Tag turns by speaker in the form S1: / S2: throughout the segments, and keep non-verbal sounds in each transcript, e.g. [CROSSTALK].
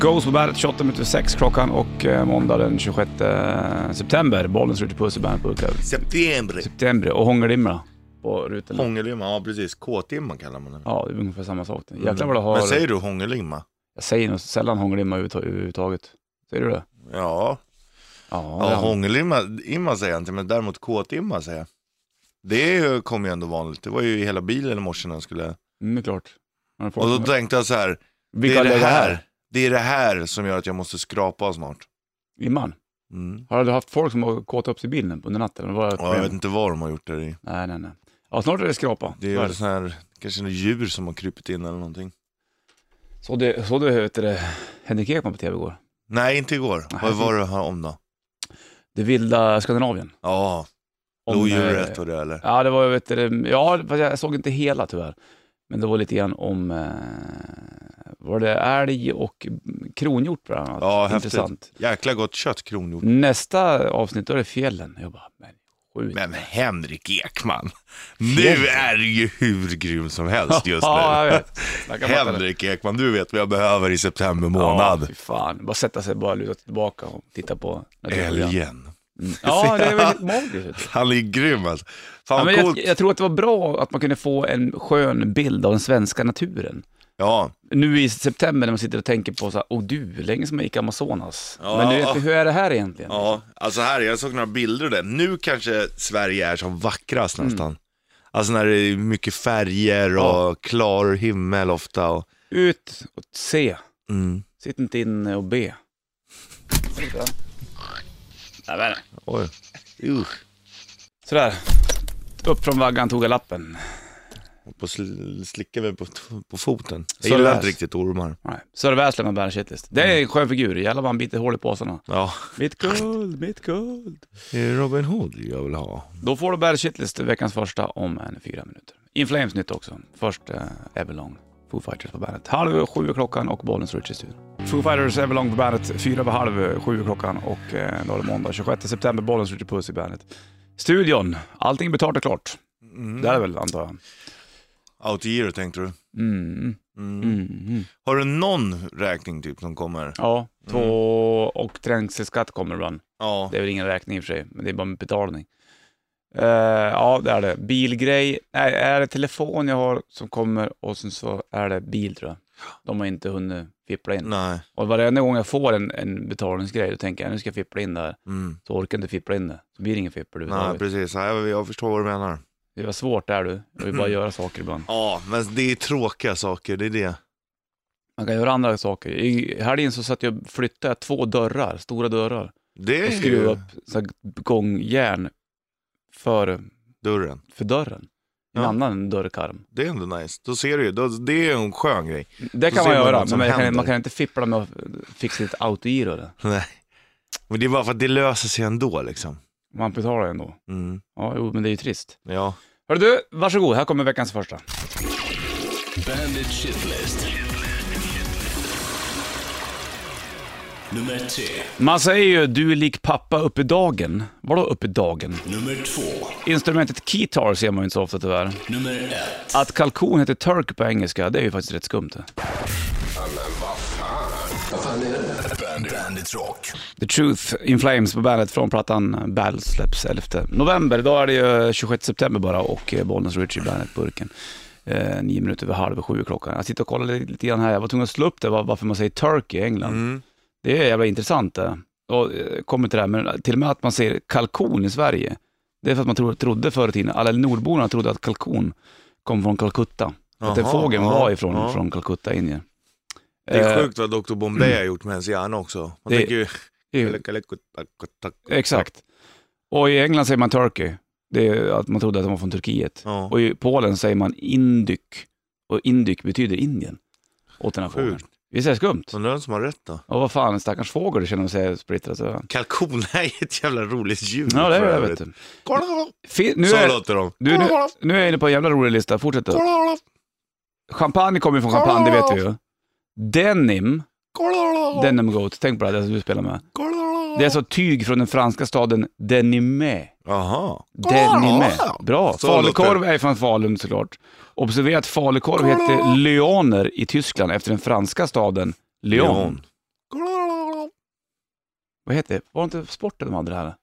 S1: Goes på bandet 28 minuter 6 klockan och eh, måndag den 26 september. Bollen slutar puss i bandet
S2: September.
S1: September och hångelimra på rutorna.
S2: Hångelimma, ja precis. K-timma kallar man det.
S1: Ja, det är ungefär samma sak. det. Jäklar vad du har...
S2: Mm. Men säger du hångelimma?
S1: Jag säger nog sällan hångelimma överhuvud- överhuvudtaget. Säger du det?
S2: Ja,
S1: Ja,
S2: ja
S1: det-
S2: hångelimma imma säger jag inte, men däremot K-timma säger jag. Det är ju- kom ju ändå vanligt. Det var ju i hela bilen i morse när jag skulle...
S1: Mm, det är klart. Men folk-
S2: Och då tänkte jag så här,
S1: Vi
S2: det
S1: kan
S2: är det
S1: lägga
S2: här. Det är det här som gör att jag måste skrapa snart.
S1: Imman,
S2: Mm.
S1: har du haft folk som har kåtat upp sig i bilen under natten? Det var ett
S2: Ja, jag
S1: problem.
S2: vet inte vad de har gjort där i.
S1: Nej, nej, nej. Ja, snart är det skrapa.
S2: Det är väl sån här, kanske något djur som har krupit in eller någonting.
S1: Så du, så du heter det, Henrik Ekman på tv igår?
S2: Nej, inte igår. Vad var det här om då?
S1: Det vilda Skandinavien.
S2: Ja,
S1: Om,
S2: lodjuret
S1: eh,
S2: och det eller?
S1: Ja, det var, vet du, ja, fast jag såg inte hela tyvärr. Men det var lite grann om, eh, var det älg och kronhjort bland annat?
S2: Ja, häftigt.
S1: Intressant.
S2: Jäkla gott kött, kronhjort.
S1: Nästa avsnitt, då är det fjällen. Jag bara, men sjukt.
S2: Men Henrik Ekman, nu är du ju hur grym som helst
S1: [LAUGHS]
S2: just
S1: Ja, jag
S2: nu.
S1: vet. Snacka om att-
S2: Henrik Ekman, du vet vad jag behöver i september
S1: Ja,
S2: månad.
S1: fy fan. Bara sätta sig, bara luta sig tillbaka och titta på naturprogram.
S2: Älgen.
S1: Ja, det är väl helt magiskt.
S2: [LAUGHS]
S1: vet du.
S2: Han är grym alltså.
S1: Ja, men
S2: Fan vad
S1: jag,
S2: coolt.
S1: jag tror att det var bra att man kunde få en skön bild av den svenska naturen.
S2: Ja,
S1: Nu i september när man sitter och tänker på så här, åh du, länge som man gick i Amazonas.
S2: Ja.
S1: Men du vet, hur är det här egentligen?
S2: ja, alltså här, jag såg några bilder där. Nu kanske Sverige är som vackrast nästan. Alltså när det är mycket färger och
S1: Mm. Ja.
S2: klar himmel ofta. Och...
S1: Ut och se,
S2: Mm.
S1: sitt inte inne och be. Nämen.
S2: Oj. Usch.
S1: Sådär, upp från vaggan tog jag lappen.
S2: Och på sl- slickar mig på, på foten.
S1: Så
S2: Jag gillar
S1: lös.
S2: inte riktigt ormar.
S1: Nej. Sörre Wäsler med Bandit Shitlist. Det är en skön figur, jävlar vad han biter hål i påsarna.
S2: Ja.
S1: Mitt guld, mitt guld.
S2: Det är Robin Hood jag vill ha.
S1: Då får du Bad Shitlist, veckans första, om en fyra minuter. In Flames nytt också. Först eh, Everlong, Foo Fighters på bandet. Halv sju är klockan och Bollens Rich i studion. Foo Fighters, Everlong på bandet, fyra över halv sju är klockan och eh, då är det måndag 26 september, Bollens Rich Puss i bandet. Studion, allting betalt och klart.
S2: Mm.
S1: Det är det väl antar jag.
S2: Out year tänkte du.
S1: Mm,
S2: Mm.
S1: mm, mm.
S2: Har du någon räkning typ som kommer?
S1: Ja, två och trängselskatt kommer ibland.
S2: Ja.
S1: Det är väl ingen räkning i och för sig, men det är bara en betalning. Eh, ja, det är det. Bilgrej. Nej, är det telefon jag har som kommer och sen så är det bil tror jag. De har inte hunnit fippla in.
S2: Nej.
S1: Och varenda gång jag får en, en betalningsgrej, då tänker jag nu ska jag fippla in det här.
S2: Mm.
S1: Så orkar jag inte fippla in det. Så blir det ingen fippel
S2: Nej,
S1: överhuvudtaget.
S2: precis. Ja, Jag, jag förstår vad du menar.
S1: Det var svårt där du. Jag
S2: [CLEARS THROAT]
S1: vill bara göra saker ibland.
S2: Ja, men det är tråkiga saker, det är det.
S1: Man kan göra andra saker. I helgen så satt jag och flyttade två dörrar, stora dörrar.
S2: Det
S1: Och
S2: är ju
S1: skruvade upp så här gångjärn för,
S2: dörren.
S1: för dörren. En
S2: Ja.
S1: annan dörrkarm.
S2: Det är ändå nice. Då ser du ju, då, det är en skön grej.
S1: Det
S2: Så
S1: kan
S2: ser
S1: man
S2: man
S1: göra,
S2: något som
S1: men man kan,
S2: händer.
S1: man kan inte fippla med att fixa ett autogiro. eller?
S2: Nej. Men det är bara för att det löser sig ändå liksom.
S1: Man betalar ändå.
S2: Mm.
S1: Ja, jo, men det är ju trist.
S2: Ja.
S1: Hör du, varsågod, här kommer veckans första.
S3: Bandit Shitlist. Nummer tre.
S1: Man säger ju du är lik pappa upp i dagen. Vadå upp i dagen?
S3: Nummer två.
S1: Instrumentet keytar ser man ju inte så ofta tyvärr.
S3: Nummer ett.
S1: Att kalkon heter turk på engelska, det är ju faktiskt rätt skumt. det.
S3: Bandit, Bandit Rock.
S1: The Truth In Flames på bandet från plattan Battle släpps 11 november. Idag är det ju 26 september bara och eh, Bollnäs Richie Bandet-burken. Eh, nio minuter över halv sju är klockan. Jag sitter och kollar lite, lite grann här, jag var tvungen att slå upp det var- varför man säger Turkey i England. Det är jävla intressant det. Och eh, kommer till det här, men till och med att man säger kalkon i Sverige. Det är för att man tro, trodde förr i tiden, alla nordborna trodde att kalkon kom från Calcutta. att den
S2: Jaha,
S1: fågeln
S2: ja,
S1: var ifrån
S2: ja.
S1: från Calcutta, Indien.
S2: Det är
S1: Eh,
S2: sjukt vad Dr. Bombay har gjort med ens hjärna också. Man
S1: Det-
S2: tänker ju...
S1: det är- Exakt. Och i England säger man Turkey. Det är att man trodde att de var från Turkiet.
S2: Ja.
S1: Och i Polen säger man indyk. Och indyk betyder Indien. Åt den här fågeln.
S2: Sjukt.
S1: Visst är det skumt?
S2: Undrar vem som har rätt då?
S1: Och vad fan, en stackars fågel känner man sig splittrad över.
S2: Kalkon är ett jävla roligt djur.
S1: Ja, det är
S2: för
S1: det.
S2: övrigt.
S1: Vet du.
S2: Kolla, kolla.
S1: Fin- nu,
S2: Så
S1: är,
S2: låter de.
S1: du, nu,
S2: Kolla,
S1: nu är jag inne på en jävla rolig lista. Fortsätt då.
S2: kolla,
S1: Champagne kommer ju från champagne, det vet vi ju. Denim,
S2: kolla,
S1: denim goat. Tänk på det, här, det som du spelar med.
S2: kolla.
S1: Det är alltså tyg från den franska staden Denimé.
S2: Jaha.
S1: Denimé. Bra.
S2: Så
S1: Falukorv
S2: låter
S1: är från Falun såklart. Ah. Observera att falukorv hette Leoner i Tyskland efter den franska staden Lyon.
S2: Lyon.
S1: Vad heter det? Var det inte sporten de hade det här?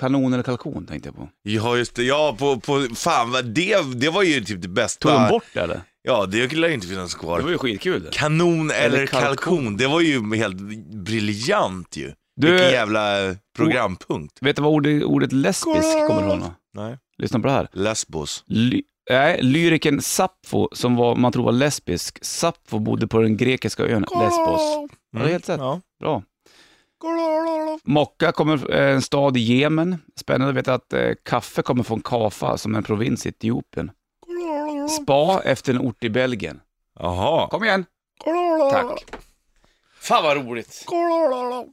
S1: Kanon eller kalkon tänkte jag på.
S2: Ja just det, ja på, på fan vad det, det var ju typ det bästa.
S1: Tog de bort det eller?
S2: Ja det lär ju inte finnas
S1: Det var
S2: kvar.
S1: ju skitkul. det.
S2: Kanon eller,
S1: Eller kalkon.
S2: kalkon. det var ju helt briljant ju.
S1: Du-
S2: Vilken jävla programpunkt.
S1: Vet du vad ordet, ordet lesbisk kommer ifrån? då?
S2: Nej.
S1: Lyssna på det här.
S2: Lesbos.
S1: Ly- nej, lyrikern Sappho, som var, man tror var lesbisk, Sappho bodde på den grekiska ön Lesbos. Har du helt rätt?
S2: Mm, Ja.
S1: Bra. Mokka kommer eh, en stad i Jemen. Spännande att veta att eh, kaffe kommer från Kafa, som är en provins i Etiopien. Spa efter en ort i Belgien.
S2: Jaha.
S1: Kom igen! Tack. Fan vad roligt!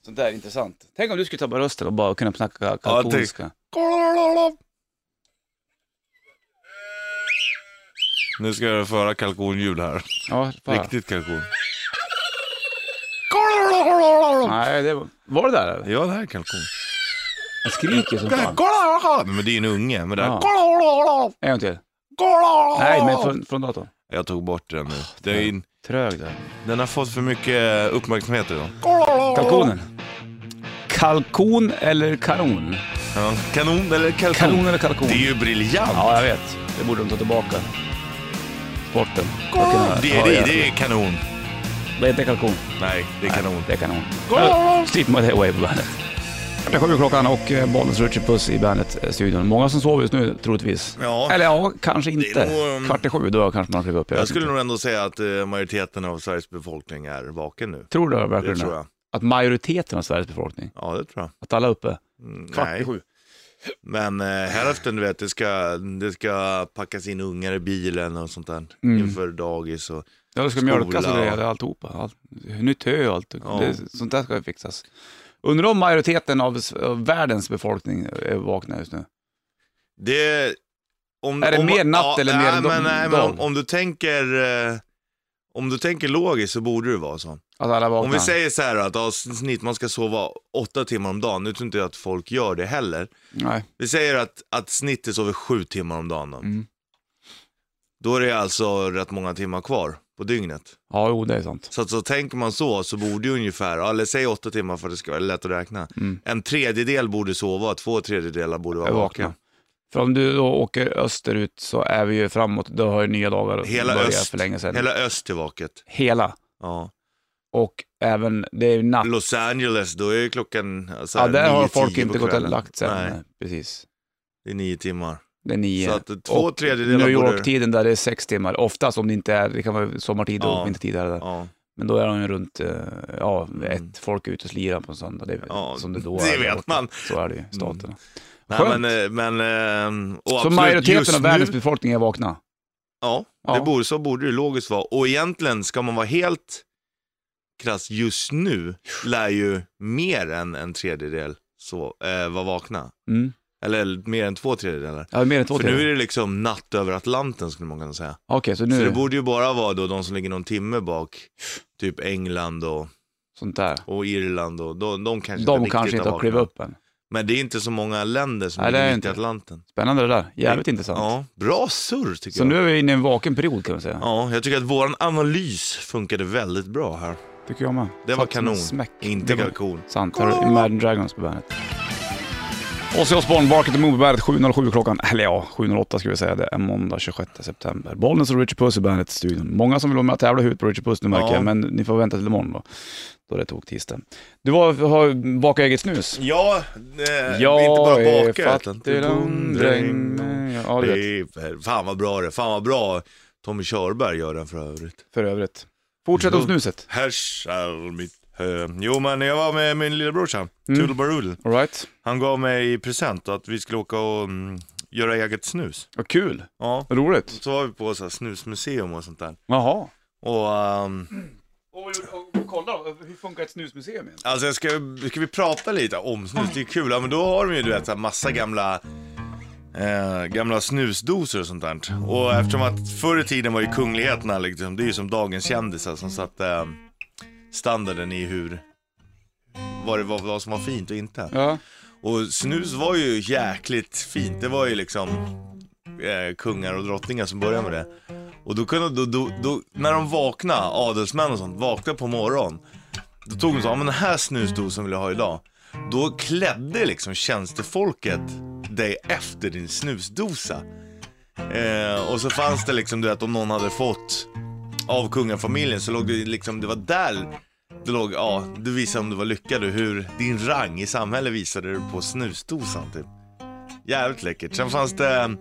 S1: Sånt där är intressant. Tänk om du skulle tappa rösten och bara kunna snacka kalkonska.
S2: Nu ska jag föra kalkonljud här.
S1: Ja, fan.
S2: Riktigt kalkon.
S1: Nej, det var... var det där eller?
S2: Ja, det här är kalkon.
S1: Jag skriker som fan.
S2: Men det är ju en unge. Men det här...
S1: Ja. En gång till. Nej, men från, från datorn.
S2: Jag tog bort den nu. Det är in...
S1: Trög där.
S2: Den har fått för mycket uppmärksamhet idag.
S1: Kalkonen. Kalkon eller kanon?
S2: Ja. Kanon eller kalkon?
S1: Kanon eller kalkon?
S2: Det är ju briljant.
S1: Ja, jag vet. Det borde de ta tillbaka. Sporten. Jag kunde ha-
S2: Det
S1: ha
S2: är det,
S1: gärna.
S2: det är kanon.
S1: Det är inte kalkon.
S2: Nej, det är kanon.
S1: Det är kanon. Street My Day Away på bandet. Det är sju klockan och eh, Bollnäs Richard Puss i bandet-studion. Många som sover just nu troligtvis.
S2: Ja.
S1: Eller ja, kanske
S2: Det
S1: inte.
S2: är nog, um,
S1: Kvart i sju, då kanske man kliver upp.
S2: Jag skulle
S1: vet
S2: nog ändå säga att eh, majoriteten av Sveriges befolkning är vaken nu.
S1: inte. Tror du verkligen
S2: Det tror jag.
S1: Att majoriteten av Sveriges befolkning,
S2: Ja, det tror jag.
S1: att alla är uppe.
S2: Mm,
S1: Kvart i
S2: Nej,
S1: sju.
S2: men eh, hälften du vet, det ska, det ska packas in ungar i bilen och sånt där
S1: Mm.
S2: inför dagis och
S1: Ja, det ska
S2: Skola
S1: mjölkas och grejer,
S2: och-
S1: det är alltihopa. Allt, nytt hö och allt.
S2: Ja.
S1: Det, sånt där ska ju fixas. Undrar om majoriteten av, s- av världens befolkning är vakna just nu.
S2: Det, om,
S1: Är det
S2: om,
S1: mer natt eller mer
S2: nej,
S1: dom-
S2: men, nej, men
S1: dag?
S2: om, om du tänker eh, om du tänker logiskt så borde det vara så.
S1: Att alla vaknar.
S2: Om vi säger så här att ja, snitt man ska sova åtta timmar om dagen, nu tror inte jag att folk gör det heller.
S1: Nej.
S2: Vi säger att, att snittet sover sju timmar om dagen då.
S1: Mm.
S2: Då är det alltså rätt många timmar kvar på dygnet.
S1: Ja, jo, det är sant.
S2: Så, att, så tänker man så, så borde ju ungefär, ja, eller säg åtta timmar för att det ska vara lätt att räkna.
S1: Mm.
S2: En tredjedel borde sova, två tredjedelar borde vara
S1: är vakna.
S2: vakna.
S1: För om du då åker österut så är vi ju framåt, då har ju nya dagar
S2: Hela
S1: börjat
S2: öst.
S1: för länge sedan. Hela.
S2: Hela öst är vaket. Ja.
S1: Och även, det är ju natt.
S2: Los Angeles, då är klockan alltså,
S1: Ja, där har
S2: 9-10
S1: folk
S2: på
S1: inte gått och
S2: kvällen.
S1: lagt sig
S2: Nej,
S1: än. Precis.
S2: det är nio timmar.
S1: Det är nio.
S2: Så att två
S1: och
S2: tredjedelar
S1: New
S2: borde-
S1: York-tiden där det är sex timmar. Oftast om det inte är, det kan vara sommartid och
S2: Ja.
S1: vintertid. Här, och där.
S2: Ja,
S1: Men då är de ju runt, eh, ja,
S2: Mm.
S1: ett, folk är ute och slirar på en söndag. Det, är
S2: Ja,
S1: som det då
S2: det
S1: är. där
S2: vet
S1: borta.
S2: man.
S1: Så är det ju, staterna.
S2: Nej,
S1: Skönt.
S2: men, eh, men eh, och
S1: så
S2: absolut, just
S1: majoriteten av
S2: nu-
S1: världens befolkning är vakna.
S2: Ja,
S1: Ja.
S2: Det borde, så borde det logiskt vara. Och egentligen, ska man vara helt krass just nu, lär ju mer än en tredjedel så, eh, vara vakna.
S1: Mm.
S2: Eller mer än två tredjedelar.
S1: Ja, mer än två
S2: För nu är
S1: till.
S2: det liksom natt över Atlanten skulle man kunna säga.
S1: Okej, så nu
S2: Så
S1: är
S2: det
S1: det
S2: borde ju bara vara då de som ligger någon timme bak, typ England och
S1: sånt där.
S2: och Irland och de, de kanske
S1: De
S2: inte
S1: kanske
S2: riktigt
S1: inte har klivit
S2: vaknat.
S1: upp än.
S2: Men det är inte så många länder som
S1: Nej, det är
S2: ligger mitt i
S1: inte.
S2: Atlanten.
S1: Spännande det där. Jävligt intressant.
S2: Ja, bra surr tycker
S1: Så
S2: jag.
S1: nu är vi inne i en vaken period kan man säga.
S2: Ja, jag tycker att våran analys funkade väldigt bra här.
S1: Tycker jag med.
S2: Det var
S1: Satt som en
S2: kanon.
S1: Smäck.
S2: Inte
S1: Det var-
S2: kalkon.
S1: Sant. Här har du Imagine Dragons på bandet. Ozzy Osbourne, Bark at the Moon på bandet 7.07 klockan. Eller ja, 7.08 skulle vi säga. Det är måndag 26 september. Bollnäs och Richard Puss i bandet-studion. Många som vill vara med och tävla i huvudet på Richard Puss nu märker
S2: Ja.
S1: jag, men ni får vänta till imorgon då. Då det tog tisdag. Du var, har bakat eget snus?
S2: Ja, eh,
S1: Jag
S2: inte bara
S1: är
S2: baka utan
S1: fattig lundring. Ja, du vet.
S2: Piper. Fan vad bra det Fan vad bra Tommy Körberg gör den för övrigt.
S1: För övrigt. Fortsätt om snuset.
S2: Här skall mitt hö. Jo men jag var med min lillebrorsa,
S1: Mm.
S2: Tulbarul.
S1: All right.
S2: Han gav mig i present att vi skulle åka och mm, göra eget snus.
S1: Vad kul.
S2: Ja,
S1: Vad roligt.
S2: så var vi på så här snusmuseum och sånt där.
S1: Jaha.
S2: Och ehm,
S1: Och, kolla hur funkar ett snusmuseum egentligen?
S2: alltså jag ska, ska vi prata lite om snus? Det är kul. Ja, men då har de ju du vet så här massa gamla Eh, gamla snusdosor och sånt där. Och eftersom att förr i tiden var ju kungligheterna liksom, det är ju som dagens kändisar som satte eh, standarden i hur, vad det var vad som var fint och inte.
S1: Ja.
S2: Och snus var ju jäkligt fint. Det var ju liksom eh, kungar och drottningar som började med det. Och då kunde, då, då, då, när de vaknade, adelsmän och sånt, vaknade på morgonen. Då tog de så, ja men den här snusdosen vill jag ha idag. Då klädde liksom tjänstefolket dig efter din snusdosa. Eh, och så fanns det liksom, du vet, om någon hade fått av kungafamiljen så låg det liksom, det var där det låg, ja, du visade om du var lyckad och hur din rang i samhället visade du på snusdosan typ. Jävligt läckert. Sen fanns det,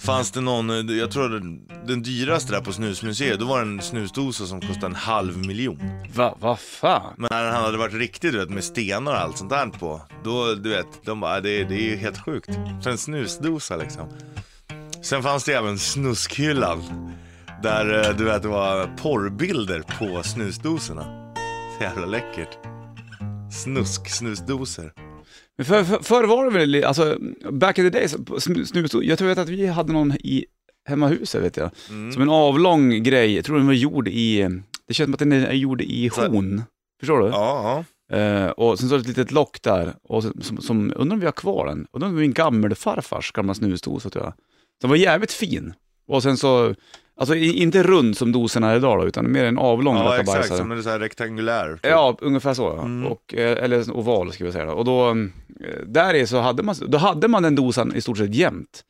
S2: fanns det någon, eh, jag tror den, den dyraste där på snusmuseet, då var det en snusdosa som kostade en halv miljon.
S1: Va, vad fan?
S2: Men när han hade varit riktigt du vet, med stenar och allt sånt där på, då du vet, de bara, "Äh, det, det är ju helt sjukt. Så en snusdosa liksom. Sen fanns det även snuskhyllan. Där eh, du vet, det var porrbilder på snusdosorna. Så jävla läckert. Snusk, snusdoser.
S1: Men för, för, förr var det väl, li- alltså back in the days, på snu- snus, jag tror vet att vi hade någon i hemmahuset vet jag. Som en avlång grej, jag tror den var gjord i, det känns som att den är gjord i
S2: Så-
S1: hon. Förstår du?
S2: Ja,
S1: Eh, och sen så är det ett litet lock där, och så, som, som, undrar om vi har kvar den? Undrar om det är min gammelfarfars gamla snusdosa tror jag. Den var jävligt fin. Och sen så, alltså i- inte rund som dosorna är idag då, utan mer en avlång
S2: ja. ja exakt.
S1: rackabajsare.
S2: Som Mm. en sån här rektangulär.
S1: Ja, ungefär så. ja. Och, eh, eller en oval skulle jag säga. då. Och då, mm, eh, där i så hade man, då hade man den dosan i stort sett jämt.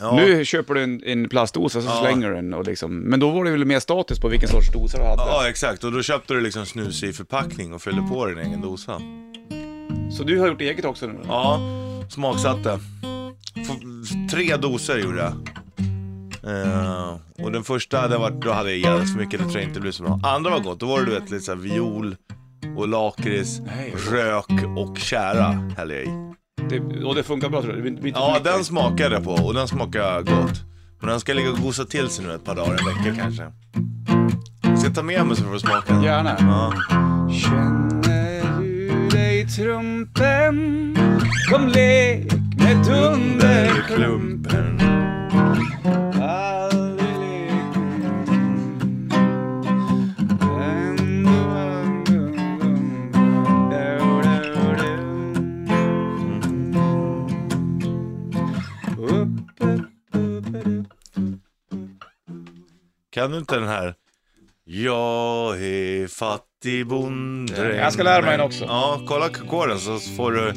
S2: Ja.
S1: Nu köper du en, en plastdosa så
S2: Ja.
S1: slänger du den. Och liksom, men då var det väl mer status på vilken sorts dosa du hade.
S2: Ja, exakt. Och då köpte du liksom snus i förpackning och fyllde på din egen dosa.
S1: Så du har gjort eget också nu? då?
S2: Ja, smaksatte. F- tre doser gjorde jag. Eh, och den första, den var, då hade jag jävligt för mycket, det tror jag inte blev så bra. Andra var gott, då var det du vet lite såhär viol och lakrits,
S1: Nej.
S2: rök och tjära hällde jag i.
S1: Det, och det funkar bra tror du? Det blir inte- blir inte för
S2: Ja,
S1: mycket.
S2: den smakade jag på och den smakade gott. Men den ska ligga och gosa till sig nu ett par dagar, en vecka kanske. Jag ska ta med mig så får du smaka den.
S1: Gärna.
S2: Ja.
S1: Känner du dig trumpen? Kom lek med dunderklumpen
S2: Dunderklumpen. Kan du inte den här? Jag är fattig bonddräng
S1: Jag ska lära mig den också.
S2: Ja, kolla kåren så får du...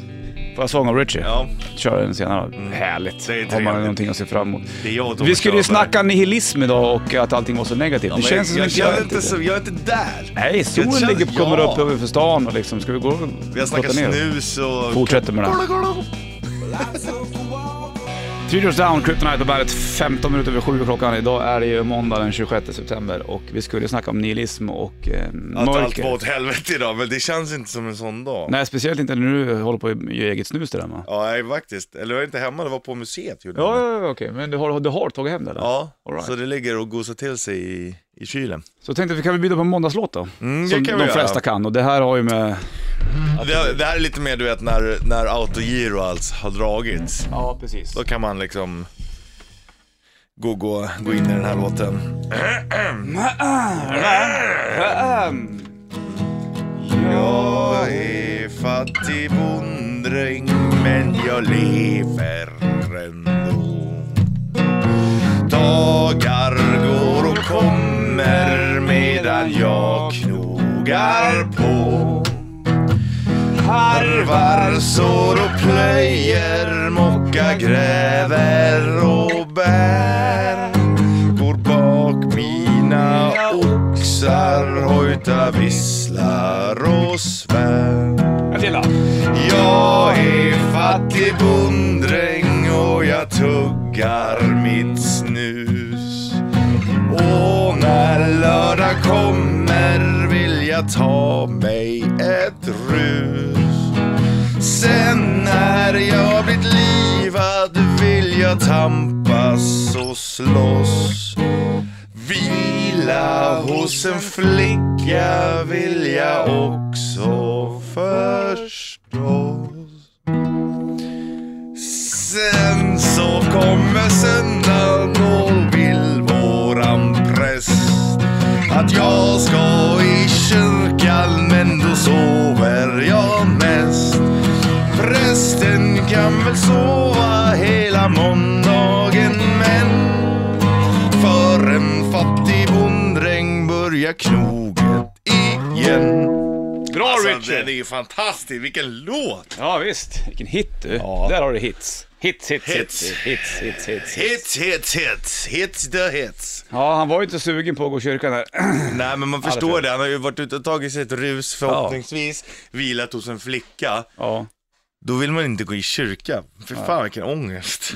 S1: Får jag sång av Richie?
S2: Ja,
S1: Kör den senare. Mm. Härligt.
S2: Det är
S1: Har man
S2: trevligt.
S1: någonting att se fram emot.
S2: det är jag och Thomas
S1: Vi skulle ju
S2: Körberg.
S1: snacka nihilism idag och att allting var så negativt. Det
S2: Men
S1: känns som
S2: jag,
S1: att
S2: jag,
S1: jag
S2: är inte, så, jag är inte där.
S1: Nej, solen
S2: Det känns-
S1: ligger, kommer
S2: ja.
S1: upp över för stan och liksom, ska vi gå och
S2: Vi har snackat
S1: ner?
S2: snus och...
S1: Fortsätter med det.
S2: Kolla, kolla.
S1: Three Doors Down, Kryptonite på bandet, 15 minuter över sju klockan. Idag är det ju måndag den 26 september och vi skulle ju snacka om nihilism och eh,
S2: Att allt
S1: mörker.
S2: var typ- åt helvete idag, men det känns inte som en sån dag.
S1: Nej, speciellt inte när du håller på att göra eget snus där hemma.
S2: Ja, nej, faktiskt. Eller jag var inte hemma, det var på museet. Gjorde jag
S1: Ja,
S2: det.
S1: ja, ja okej, men du har, du har tagit hem det eller?
S2: ja.
S1: All right.
S2: så det ligger och gosar till sig i, i kylen.
S1: Så tänkte vi, kan vi bjuda på en måndagslåt då?
S2: Mm, det
S1: Som
S2: kan vi
S1: de
S2: göra.
S1: flesta kan och det här har ju med...
S2: Det, det här är lite mer du vet när, när autogiro alls har dragits.
S1: Ja, precis.
S2: Då kan man liksom gå, gå, gå in i den här låten.
S1: Ehm.
S2: Jag är fattig bonddräng men jag lever ändå. Dagar går och kommer medan jag knogar på. Harvar, sår och plöjer, mockar, gräver och bär. Går bak mina oxar, hojtar, visslar och svär.
S1: Matilda!
S2: Jag är fattig bonddräng och jag tuggar mitt snus. Och när lördag kommer vill jag ta mig ett rus. Sen när jag blivit livad vill jag tampas och slåss. Vila hos en flicka vill jag också förstås. Sen så kommer söndagen och vill våran präst att jag ska i kyrkan men då sover jag mest. Prästen kan väl sova hela måndagen men för en fattig bondräng börjar knoget igen.
S1: Bra
S2: Alltså,
S1: Richard!
S2: den är ju fantastisk, vilken låt!
S1: Ja visst, vilken hit du.
S2: Ja.
S1: Där har du hits. Hits, hits, hits,
S2: Hits.
S1: hits, hits, hits.
S2: Hits, hits, hits, hits the hits.
S1: Ja, han var ju inte sugen på att gå i kyrkan där. [CLEARS THROAT]
S2: Nej men man förstår
S1: Aldrig.
S2: det, han har ju varit ute och tagit sig ett rus förhoppningsvis, vilat hos en flicka.
S1: Ja.
S2: Då vill man inte gå i kyrka. För fan vilken ångest.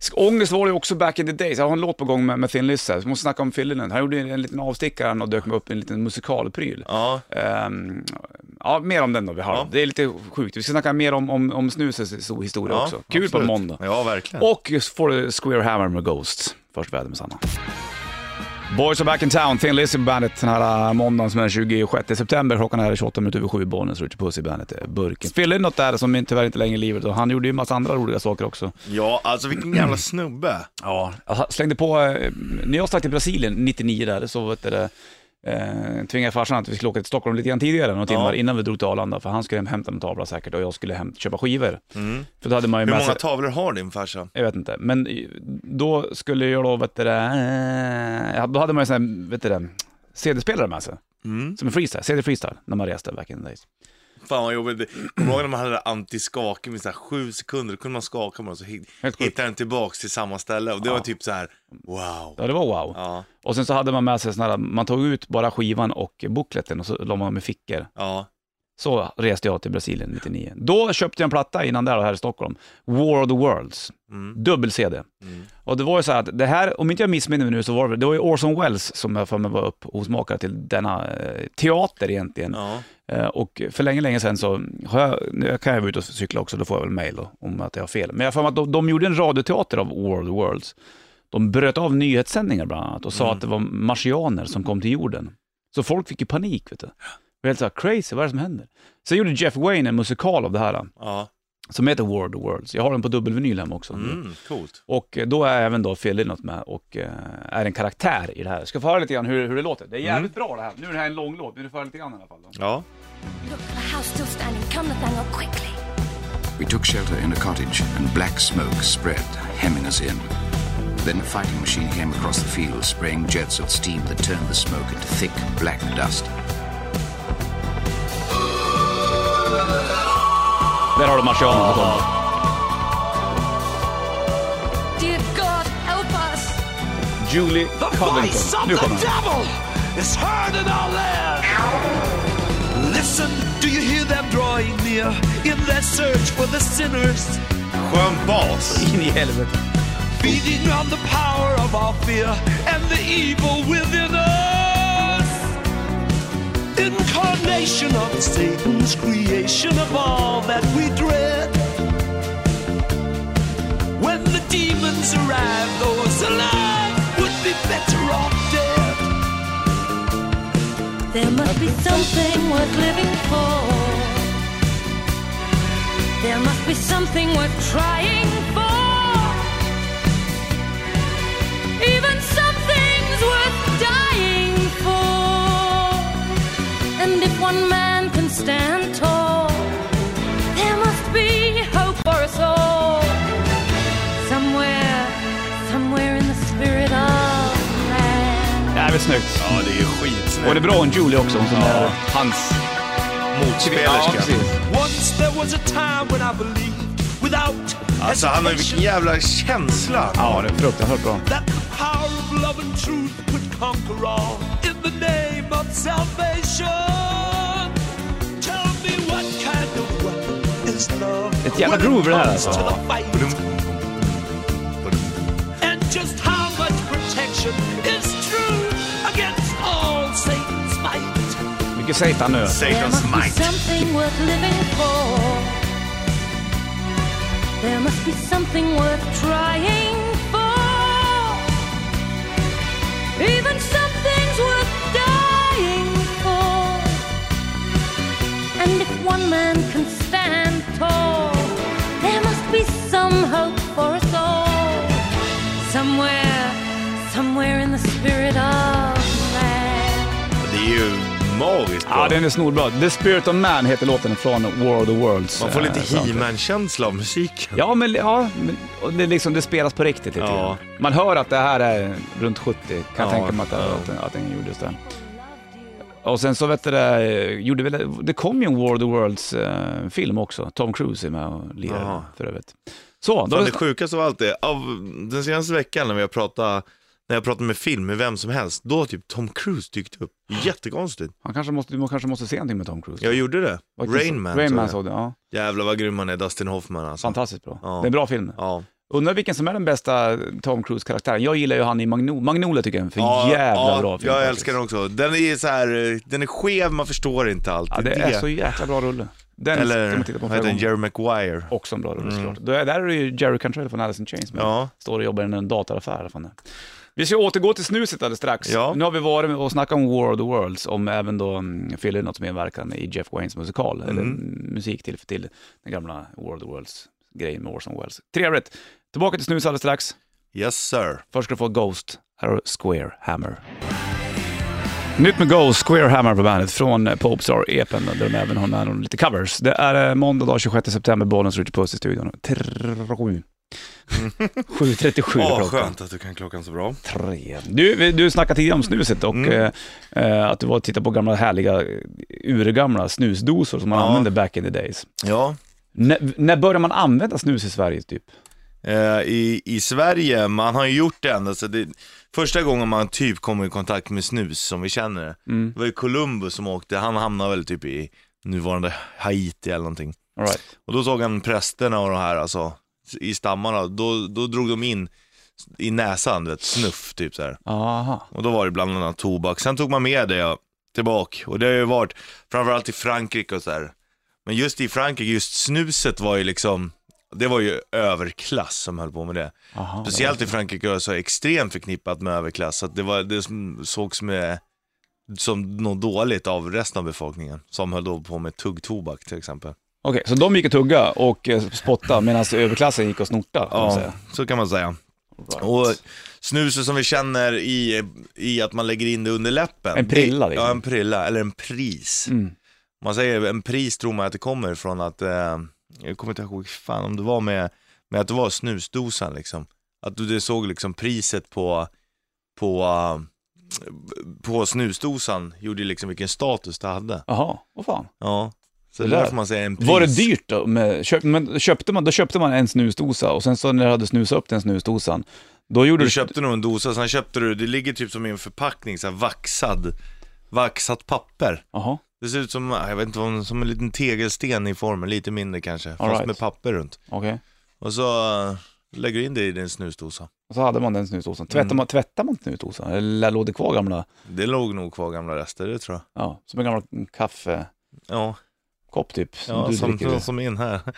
S1: Sk- Ångest var det ju också back in the days. Jag har en låt på gång med, med Thin Lizzy här, så vi måste snacka om Fillinen. Han gjorde en, en liten avstickare han och dök upp i en liten musikalpryl.
S2: Ja.
S1: Ehm, ja, mer om den då vi har.
S2: Ja.
S1: Det är lite sjukt. Vi ska snacka mer om, om, om snusets histo- historia
S2: ja,
S1: också. Kul på
S2: absolut.
S1: måndag.
S2: Ja, verkligen.
S1: Och just får du Square Hammer med Ghosts. Först väder med Sanna. Boys are back in town, Thin Lizzy på bandet den här äh, måndagen som är den 26 september. Klockan är 28 minuter över sju, Bollnäs Ritchie Puss i bandet eh, Burken. Fyllde in något där som inte- tyvärr inte längre är i livet och han gjorde ju en massa andra roliga saker också.
S2: Ja, alltså vilken jävla snubbe.
S1: Ja, jag slängde på, eh, när jag stack till Brasilien 99 där, så vet du, det, eh, tvingade farsan att vi skulle åka till Stockholm lite grann tidigare, några timmar innan vi drog till Arlanda, för han skulle hem hämta en tavla säkert och jag skulle hem köpa skivor. För då hade man ju
S2: Mm. Hur
S1: med
S2: många
S1: sig,
S2: tavlor har din farsa?
S1: jag vet inte, men eh, då skulle jag då, vet du, det, eh, då hade man ju sån här, vet du, det, CD-spelare med sig. Som en freestyle, CD freestyle, när man reste back in the days.
S2: Fan vad jobbigt. Kommer du ihåg när man hade det där antiskaket med så här sju sekunder? Då kunde man skaka med den så hit-
S1: Helt sjukt.
S2: hittade den tillbaks till samma ställe. Och det var typ så här, wow.
S1: Ja, det var wow.
S2: Ja,
S1: Och sen så hade man med sig sån här, man tog ut bara skivan och bokletten och så la man dem i fickor.
S2: ja.
S1: Så reste jag till Brasilien 99. Då köpte jag en platta innan där och här i Stockholm. War of the Worlds.
S2: mm,
S1: Dubbel-CD. Och det var ju så här att det här, om inte jag missminner mig nu så var det, det var ju Orson Welles som jag för mig var upphovsmakare till denna eh, teater egentligen.
S2: ja.
S1: Eh, och för länge, länge sedan så har jag, nu kan jag vara ute och cykla också, då får jag väl mejl då om att jag har fel. Men jag har för mig att de, de gjorde en radioteater av War of the Worlds. De bröt av nyhetssändningar bland annat och sa att det var marsianer som kom till jorden. Så folk fick ju panik, vet du. Och helt såhär, crazy, vad är det som händer? Sen gjorde Jeff Wayne en musikal av det här,
S2: ja.
S1: som heter War of the Worlds. Jag har den på dubbelvinyl hemma också.
S2: Mm, coolt.
S1: Och då är även då Phil något med och eh, är en karaktär i det här. Ska få höra lite grann hur, hur det låter. Det är jävligt bra det här. Nu är det här en lång låt, men du får höra lite grann i alla fall. Då.
S2: Ja.
S4: Look, the house still standing. Come, Nathaniel, quickly.
S5: We took shelter in a cottage, and black smoke spread, hemming us in. Then a fighting machine came across the field, spraying jets of steam that turned the smoke into thick, black dust.
S1: Där har du marsianerna på dem.
S4: Dear God, help us.
S1: Julie Covington. Nu kommer den.
S6: devil is heard in our land. Listen, do you hear them drawing near in their search for the sinners?
S2: Skön bas.
S1: In i helvete.
S6: Feeding on the power of our fear and the evil within us. Incarnation of Satan's creation of all that we dread. When the demons arrive, those alive would be better off dead.
S4: There must be something worth living for. There must be something worth trying for. Even something's worth dying for. And if one man can stand tall, there must be hope for us all. Somewhere, somewhere in the spirit of man.
S1: Jävligt snyggt.
S2: Ja, det är ju
S1: Och det är
S2: skitsnyggt.
S1: bra hon Julie också, hon som är hans... Ja,
S2: Motspelerska.
S1: precis.
S6: Once there was a time when I believed without
S2: Alltså han har ju vilken
S6: hesitation
S2: jävla känsla.
S1: Ja, det är fruktansvärt bra.
S6: that the power of love and truth could conquer all in the name of salvation. Tell me what kind of weapon is love?
S1: Ett jävla
S6: when it
S1: groove det här
S6: comes
S1: alltså.
S6: to the fight? And just how much protection is true against all Satan's might?
S1: Mycket Satan nu.
S4: There
S2: Satan's
S4: must be
S2: might.
S4: something worth living for. There must be something worth trying for. Even something's worth dying for. And if one man can stand tall, there must be some hope for us all. Somewhere, somewhere in the spirit of man.
S2: Det är ju magiskt bra.
S1: Ja, den är snorbra. The Spirit of Man heter låten från War of the Worlds.
S2: Man får lite
S1: eh, soundtrack.
S2: He-Man-känsla av musiken.
S1: Ja, men, ja, men och det, är liksom, det spelas på riktigt lite
S2: Ja.
S1: grann. Man hör att det här är runt 70, kan jag
S2: Ja,
S1: tänka mig att, det-
S2: ja.
S1: att, den- att den gjordes där. Och sen så vet du det, eh, gjorde väl, det kom ju en War of the Worlds-film också. Tom Cruise är med och lirar
S2: Jaha.
S1: för övrigt. Så, då
S2: Fan, det sjukaste av allt är, av den senaste veckan när vi har pratat när jag pratar med film med vem som helst, då har typ Tom Cruise dykt upp. Jättekonstigt.
S1: han kanske måste, du kanske måste se någonting med Tom Cruise.
S2: Jag gjorde det.
S1: Vad-
S2: Rain Man.
S1: Rain
S2: såg
S1: Man
S2: jag.
S1: såg du, ja.
S2: Jävlar vad grym han är, Dustin Hoffman alltså.
S1: Fantastiskt bra.
S2: Ja.
S1: Det är en bra film.
S2: Ja.
S1: Undrar vilken som är den bästa Tom Cruise-karaktären. Jag gillar ju han i Magno- Magnolia tycker jag är en för
S2: Ja,
S1: jävla
S2: ja,
S1: bra film.
S2: Jag
S1: faktiskt.
S2: älskar den också. Den är så här, eh, den är skev, man förstår inte allt.
S1: Ja, det är så jäkla bra rulle. Den
S2: Eller,
S1: ska man titta på
S2: vad
S1: flera
S2: heter den?
S1: gånger.
S2: Jerry Maguire.
S1: Också en bra rulle såklart. Då är, där är det ju Jerry Cantrell från Alice in Chains med.
S2: Ja.
S1: Står och jobbar i en dataraffär. eller Fan det. är. Vi ska återgå till snuset alldeles strax.
S2: Ja.
S1: Nu har vi varit med och snackat om War of the Worlds, om även då mm, fyller något medverkan i Jeff Waynes musikal, eller musik till, till den gamla War of the Worlds-grejen med Orson Welles. Trevligt! Tillbaka till snus alldeles strax.
S2: Yes sir.
S1: Först ska du få Ghost, här har du Square Hammer. Nytt med Ghost, Square Hammer på bandet från eh, Pope Star-epen där de även har med dem lite covers. Det är eh, måndag dag 26 september, Bollnäs Ritchie Puss i studion.
S2: [LAUGHS]
S1: Trrrr- 7.37
S2: Åh,
S1: är klockan.
S2: skönt att du kan klockan så bra.
S1: Tre. Du, vi- du snackade tidigare om snuset och
S2: Mm.
S1: eh, eh, att du var och tittade på gamla härliga, eh, urgamla snusdosor som man
S2: Ja.
S1: använde back in the days.
S2: Ja.
S1: När- när började man använda snus i Sverige typ?
S2: Eh, i, I Sverige, man har ju gjort det ända så det, första gången man typ kommer i kontakt med snus som vi känner det.
S1: Mm.
S2: Det var ju Columbus som åkte, han hamnade väl typ i nuvarande Haiti eller någonting.
S1: All right.
S2: Och då såg han prästerna och de här alltså, i stammarna, då, då drog de in i näsan, du vet, snuff typ så här.
S1: Aha.
S2: Och då var det bland annat tobak. Sen tog man med det tillbaka. Och det har ju varit framförallt i Frankrike och så här. Men just i Frankrike, just snuset var ju liksom, det var ju överklass som höll på med det.
S1: Aha.
S2: Speciellt i Frankrike var så extremt förknippat med överklass. Så att det, var, det som sågs med, som något dåligt av resten av befolkningen. Som höll då på med tuggtobak till exempel.
S1: Okej, så de gick och tugga och eh, spotta medan överklassen gick och snorta, kan man
S2: Ja,
S1: säga.
S2: så kan man säga.
S1: Right.
S2: Och snuset som vi känner i, i att man lägger in det under läppen.
S1: En prilla,
S2: Det-
S1: liksom.
S2: Ja, en prilla, eller en pris.
S1: Mm.
S2: Man säger en pris tror man att det kommer från att, eh, jag kommer inte ihåg fan om det var med, med att det var snusdosan liksom. Att du det såg liksom priset på, på, eh, på snusdosan gjorde liksom vilken status det hade.
S1: Jaha, vad fan.
S2: Ja, så
S1: Det
S2: det
S1: där-
S2: är därför man säger en pris.
S1: Var det dyrt då? Med, köp, men köpte man, då köpte man en snusdosa och sen så när du hade snusat upp den snusdosan, då gjorde
S2: Du
S1: du...
S2: köpte nog en dosa, sen köpte du, det ligger typ som i en förpackning, så här vaxad, vaxat papper.
S1: Jaha,
S2: Det ser ut som, ah, jag vet inte, vad- som en liten tegelsten i formen, lite mindre kanske, fast
S1: right.
S2: med papper runt.
S1: okej.
S2: Och så eh, lägger du in det i din snusdosa.
S1: Och så hade man den snusdosan. Tvättade
S2: Mm.
S1: man, tvättade man snusdosan? Eller låg det kvar gamla,
S2: Det låg nog kvar gamla rester, det tror jag.
S1: ja, som en gammal kaffekopp
S2: Ja,
S1: typ? Som
S2: ja
S1: du
S2: som,
S1: dricker.
S2: som, som in här. [LAUGHS]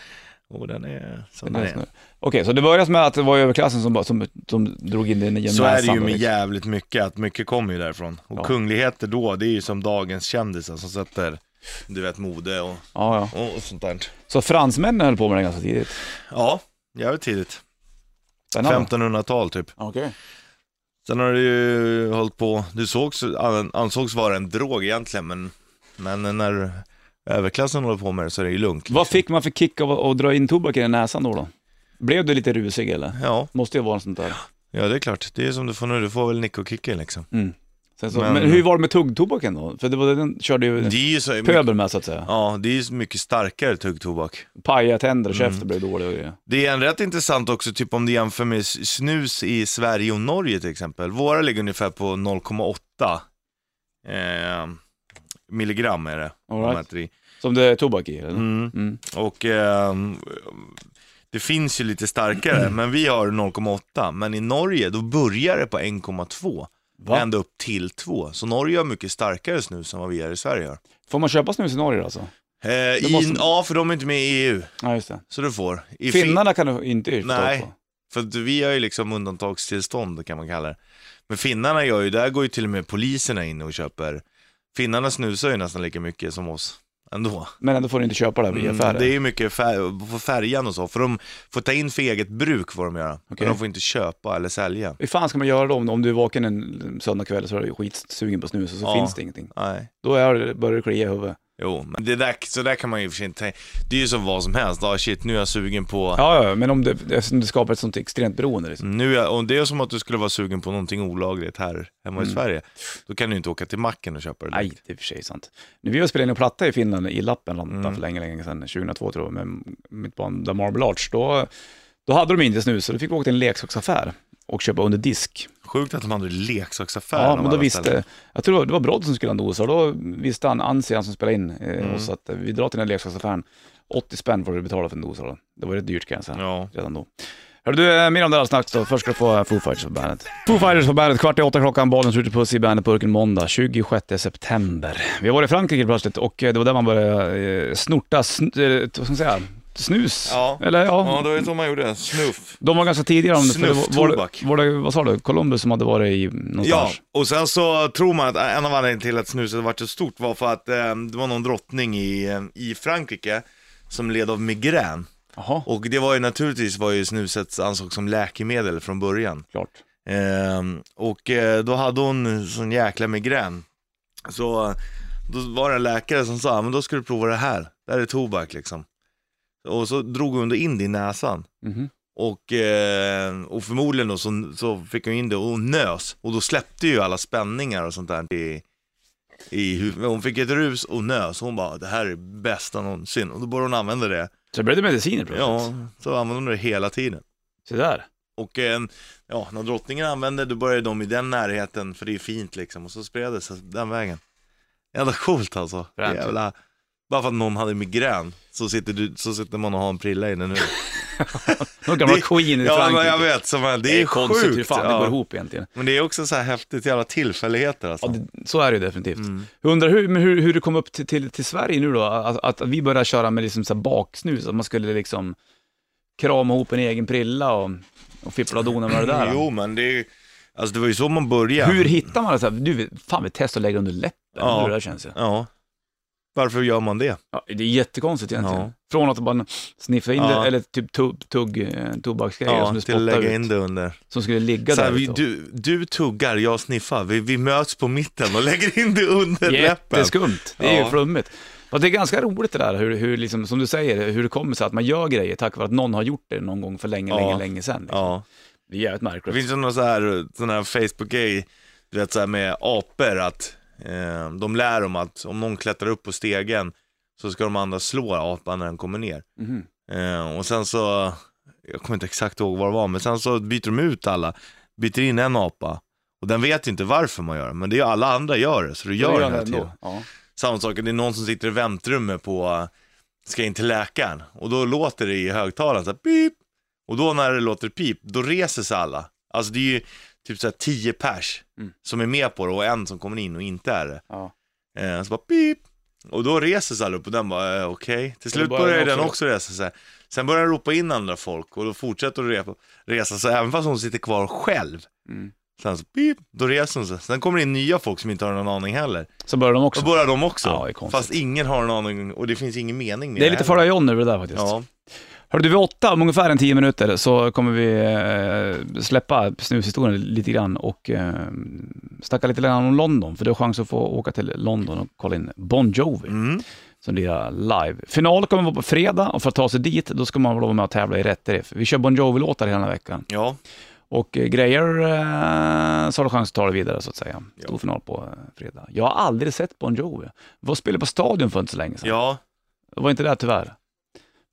S2: Och den är som
S1: Den
S2: den
S1: här
S2: är.
S1: snu- Okej, så det började med att det var överklassen som, bara- som, som drog in den i
S2: Så
S1: näsan
S2: är det ju
S1: då,
S2: med
S1: liksom.
S2: jävligt mycket, att mycket kommer ju därifrån. Och
S1: Ja.
S2: kungligheter då, det är ju som dagens kändisar som sätter, du vet, mode och,
S1: ja, ja.
S2: och, och sånt där.
S1: Så fransmännen höll på med den ganska tidigt?
S2: Ja, jävligt tidigt.
S1: Spännande.
S2: 1500-tal typ.
S1: Okej.
S2: Sen har du ju hållit på, du sågs, an- ansågs vara en drog egentligen men, men när överklassen håller på med det så är det ju lugnt.
S1: Vad fick man för kick av att att dra in tobaken i näsan då? då? Blev du lite rusig eller?
S2: Ja,
S1: Måste ju vara något sånt där.
S2: ja det är klart. Det är som du får nu, du får väl nickokicken liksom.
S1: Mm. Sen så, men,
S2: Men-
S1: hur var det med tuggtobaken då? För det var, den körde ju
S2: Det är ju så mycket,
S1: pöbel med så att säga.
S2: ja, det är ju så mycket starkare tuggtobak.
S1: Paja
S2: Mm.
S1: tänder och käften blev dålig och grejer.
S2: Det är en rätt intressant också, typ om du jämför med s- snus i Sverige och Norge till exempel. Våra ligger ungefär på 0,8 eh, milligram är det.
S1: All
S2: de
S1: right.
S2: mäter i.
S1: Som det är tobak i eller?
S2: Mm.
S1: Mm.
S2: Och ehm, det finns ju lite starkare, men vi har 0,8. Men i Norge, då börjar det på 1,2.
S1: Va?
S2: Ända upp till 2. Så Norge har mycket starkare snus än vad vi har i Sverige. Har.
S1: Får man köpa snus i Norge alltså?
S2: Eh, i,
S1: måste-
S2: Ja, för de är inte med i EU,
S1: Ja just det.
S2: så du får. I Fin-
S1: Finnarna kan du inte få tag
S2: Nej,
S1: på.
S2: för att vi har ju liksom undantagstillstånd kan man kalla det. Men finnarna gör ju, där går ju till och med poliserna in och köper. Finnarna snusar ju nästan lika mycket som oss. ändå.
S1: Men ändå får du inte köpa det här via affärer.
S2: Mm, det är ju mycket fär- på färjan och så, för de får ta in för eget bruk får de göra.
S1: Okej.
S2: Men de får inte köpa eller sälja.
S1: Hur fan ska man göra då om, om du är vaken en söndagkväll så är du skitsugen på snus och så
S2: Ja.
S1: finns det ingenting?
S2: Nej.
S1: Då är, det- börjar det klia i huvudet.
S2: Jo, men det där, så där kan man ju i och för sig inte tänka. Det är ju som vad som helst. Ah, shit, nu är jag sugen på...
S1: Ja, ja, men om det, eftersom det skapar ett sånt extremt beroende liksom.
S2: Nu är jag, och det är som att du skulle vara sugen på någonting olagligt här hemma i Sverige. Då kan du inte åka till macken och köpa det.
S1: Mm. Nej, det är för sig sant. Nu, vi var och spelade in en platta i Finland, i Lappland, för länge, länge sedan, 2002 tror jag, med mitt band The Marble Arch. Då, då hade de inte snus, så då fick vi åka till en leksaksaffär och köpa under disk.
S2: Sjukt att de hade leksaksaffär.
S1: Ja,
S2: av
S1: men då
S2: alla ställen.
S1: visste, jag tror det var Brodd som skulle ha en dos, och då visste han, Ansi, han som spelade in eh, oss, att eh, vi drar till den här leksaksaffären, 80 spänn får du betala för en dosa då. Det var rätt dyrt kan jag säga,
S2: Ja.
S1: redan då. Hör du, eh, mer om det alldeles strax då. Först ska du få eh, Foo Fighters på bandet. Foo Fighters på bandet, kvart i åtta klockan, bollen skjuter puss i bandetburken måndag 26 september. Vi har varit i Frankrike plötsligt och eh, det var där man började eh, snorta, sn- eh, vad ska man säga, snus.
S2: Ja.
S1: Eller
S2: Ja, det var ju så man gjorde. Snuff.
S1: De var ganska tidiga om det. för det var- var det-
S2: Snufftobak.
S1: var det- Vad sa du? Columbus som hade varit i
S2: Ja,
S1: någonstans?
S2: och sen så tror man att en av anledningarna till att snuset varit så stort var för att eh, det var någon drottning i, eh, i Frankrike som led av migrän.
S1: Jaha,
S2: Och det var ju naturligtvis var ju snuset ansågs som läkemedel från början.
S1: klart.
S2: Ehm, och eh, då hade hon sån jäkla migrän. Så eh, då var det en läkare som sa, men då ska du prova det här. Det här är tobak liksom. Och så drog hon då in det i näsan.
S1: Mhm.
S2: Och, eh, och förmodligen då så, så fick hon in det och hon nös. Och då släppte ju alla spänningar och sånt där i, i huvudet. Hon fick ett rus och nös. Hon bara, det här är det bästa någonsin. Och då började hon använda det.
S1: Så det blev det mediciner plötsligt?
S2: Ja, så använde hon det hela tiden.
S1: Se där.
S2: Och eh, ja, när drottningen använde då började de i den närheten för det är fint liksom och så spred det sig den vägen. Jävla coolt alltså.
S1: Fränt.
S2: Jävla, bara för att någon hade migrän så sitter, du, så sitter man och har en prilla inne nu.
S1: Någon gamla
S2: Det-
S1: Queen i
S2: ja,
S1: Frankrike.
S2: men jag vet. Som, det, är
S1: konstigt
S2: sjukt.
S1: hur fan det
S2: ja.
S1: går ihop egentligen.
S2: Men det är också så här häftigt jävla tillfälligheter alltså. Mm.
S1: Ja, det, Mm. så är det ju definitivt. Jag undrar hur, men hur, hur det kom upp till, till, till Sverige nu då, att, att vi började köra med liksom så här baksnus, att man skulle liksom krama ihop en egen prilla och, och fippla och dona med det där.
S2: Jo men det är ju- alltså det var ju så man började.
S1: Hur hittar man det? Så här, du, fan vi testar att lägga under läppen,
S2: Ja.
S1: hur det där känns. ju.
S2: Ja. Varför gör man det?
S1: Ja, det är jättekonstigt egentligen.
S2: Ja.
S1: Från att bara sniffa in
S2: Ja.
S1: det, eller typ tugg, tugg eh, tobaksgrejer
S2: Ja,
S1: som du
S2: till att lägga
S1: spottar
S2: in
S1: ut,
S2: det under.
S1: som skulle ligga
S2: Så här,
S1: där.
S2: vi,
S1: ute och-
S2: du, du tuggar, jag sniffar. Vi, vi möts på mitten och [LAUGHS] lägger in det under [LAUGHS] läppen.
S1: Jätteskumt, det är ju
S2: Ja.
S1: flummigt. Och det är ganska roligt det där, hur, hur liksom, som du säger, hur det kommer sig att man gör grejer tack vare att någon har gjort det någon gång för länge,
S2: Ja.
S1: länge, länge sedan. Liksom.
S2: Ja.
S1: Det är jävligt
S2: Det
S1: märkligt.
S2: finns ju någon så här, sån här Facebook-grej, du vet så här med apor att eh, de lär dem att om någon klättrar upp på stegen så ska de andra slå apan när den kommer ner.
S1: Mhm.
S2: Eh, och sen så, jag kommer inte exakt ihåg vad det var, men sen så byter de ut alla, byter in en apa. Och den vet inte varför man gör det, men det är alla andra gör det, så du gör
S1: Då
S2: det
S1: han
S2: hela
S1: ändå.
S2: tiden.
S1: Ja.
S2: Samma sak, det är någon som sitter i väntrummet på, eh, ska in till läkaren och då låter det i högtalaren så här, pip. Och då när det låter pip, då reser sig alla. Alltså det är ju typ så här 10 pers
S1: Mm.
S2: som är med på det och en som kommer in och inte är det.
S1: Ja.
S2: Eh, så bara pip. Och då reser sig alla upp och den bara, eh, okej. Till slut
S1: börjar den
S2: börjar ju den
S1: också-
S2: också resa sig. Sen börjar den ropa in andra folk och då fortsätter den repa- resa sig, även fast hon sitter kvar själv.
S1: Mm.
S2: Sen så pip, då reser hon sig. Sen kommer det in nya folk som inte har någon aning heller.
S1: Så börjar de också.
S2: Och börjar de också.
S1: Ja, det är konstigt.
S2: Fast ingen har en aning och det finns ingen mening med
S1: Det är lite
S2: heller.
S1: Farao John över det där faktiskt.
S2: Ja,
S1: Hörru du, vid åtta, om ungefär en tio minuter, så kommer vi eh, släppa snushistorien lite grann och eh, snacka lite grann om London, för du har chans att få åka till London och kolla in Bon Jovi.
S2: mm.
S1: som lirar live. Final kommer vara på fredag och för att ta sig dit, då ska man vara med och tävla i rätt riff. Vi kör Bon Jovi-låtar hela den här veckan
S2: ja.
S1: och eh, grejer eh, så har du chans att ta dig vidare så att säga. Stor final på eh, fredag. Jag har aldrig sett Bon Jovi. Var spelade på Stadion för inte så länge sedan.
S2: ja,
S1: Jag var inte där tyvärr.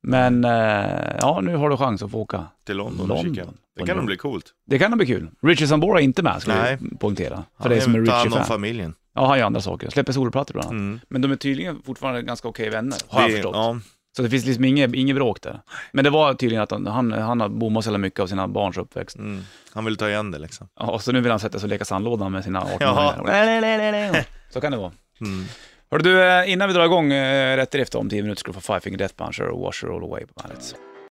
S1: Men eh, ja, nu har du chans att få åka.
S2: till London,
S1: London.
S2: London. Kika. Det kan nog bli coolt.
S1: Det kan nog bli kul. Richie Sambora är inte med, ska
S2: Nej.
S1: vi poängtera. För
S2: Han
S1: dig som är
S2: tar hand om
S1: Richie-fan.
S2: familjen.
S1: Ja, han gör andra saker. Släpper solplattor bland annat.
S2: Mm.
S1: Men de är tydligen fortfarande ganska okej vänner, har jag
S2: Det-
S1: förstått.
S2: Ja.
S1: Så det finns liksom inget, inget bråk där. Men det var tydligen att han, han, han har bommat så jävla mycket av sina barns uppväxt.
S2: Mm. Han vill ta igen det liksom.
S1: Ja, Och så nu vill han sätta sig och leka sandlådan med sina [LAUGHS]
S2: Jaha.
S1: 18-åringar. Så kan det vara.
S2: Mm.
S1: Hörru du, eh, innan vi drar igång eh, Rätt Drift om 10 minuter ska du få Five Finger Death Punch och Washer All Away på bandet.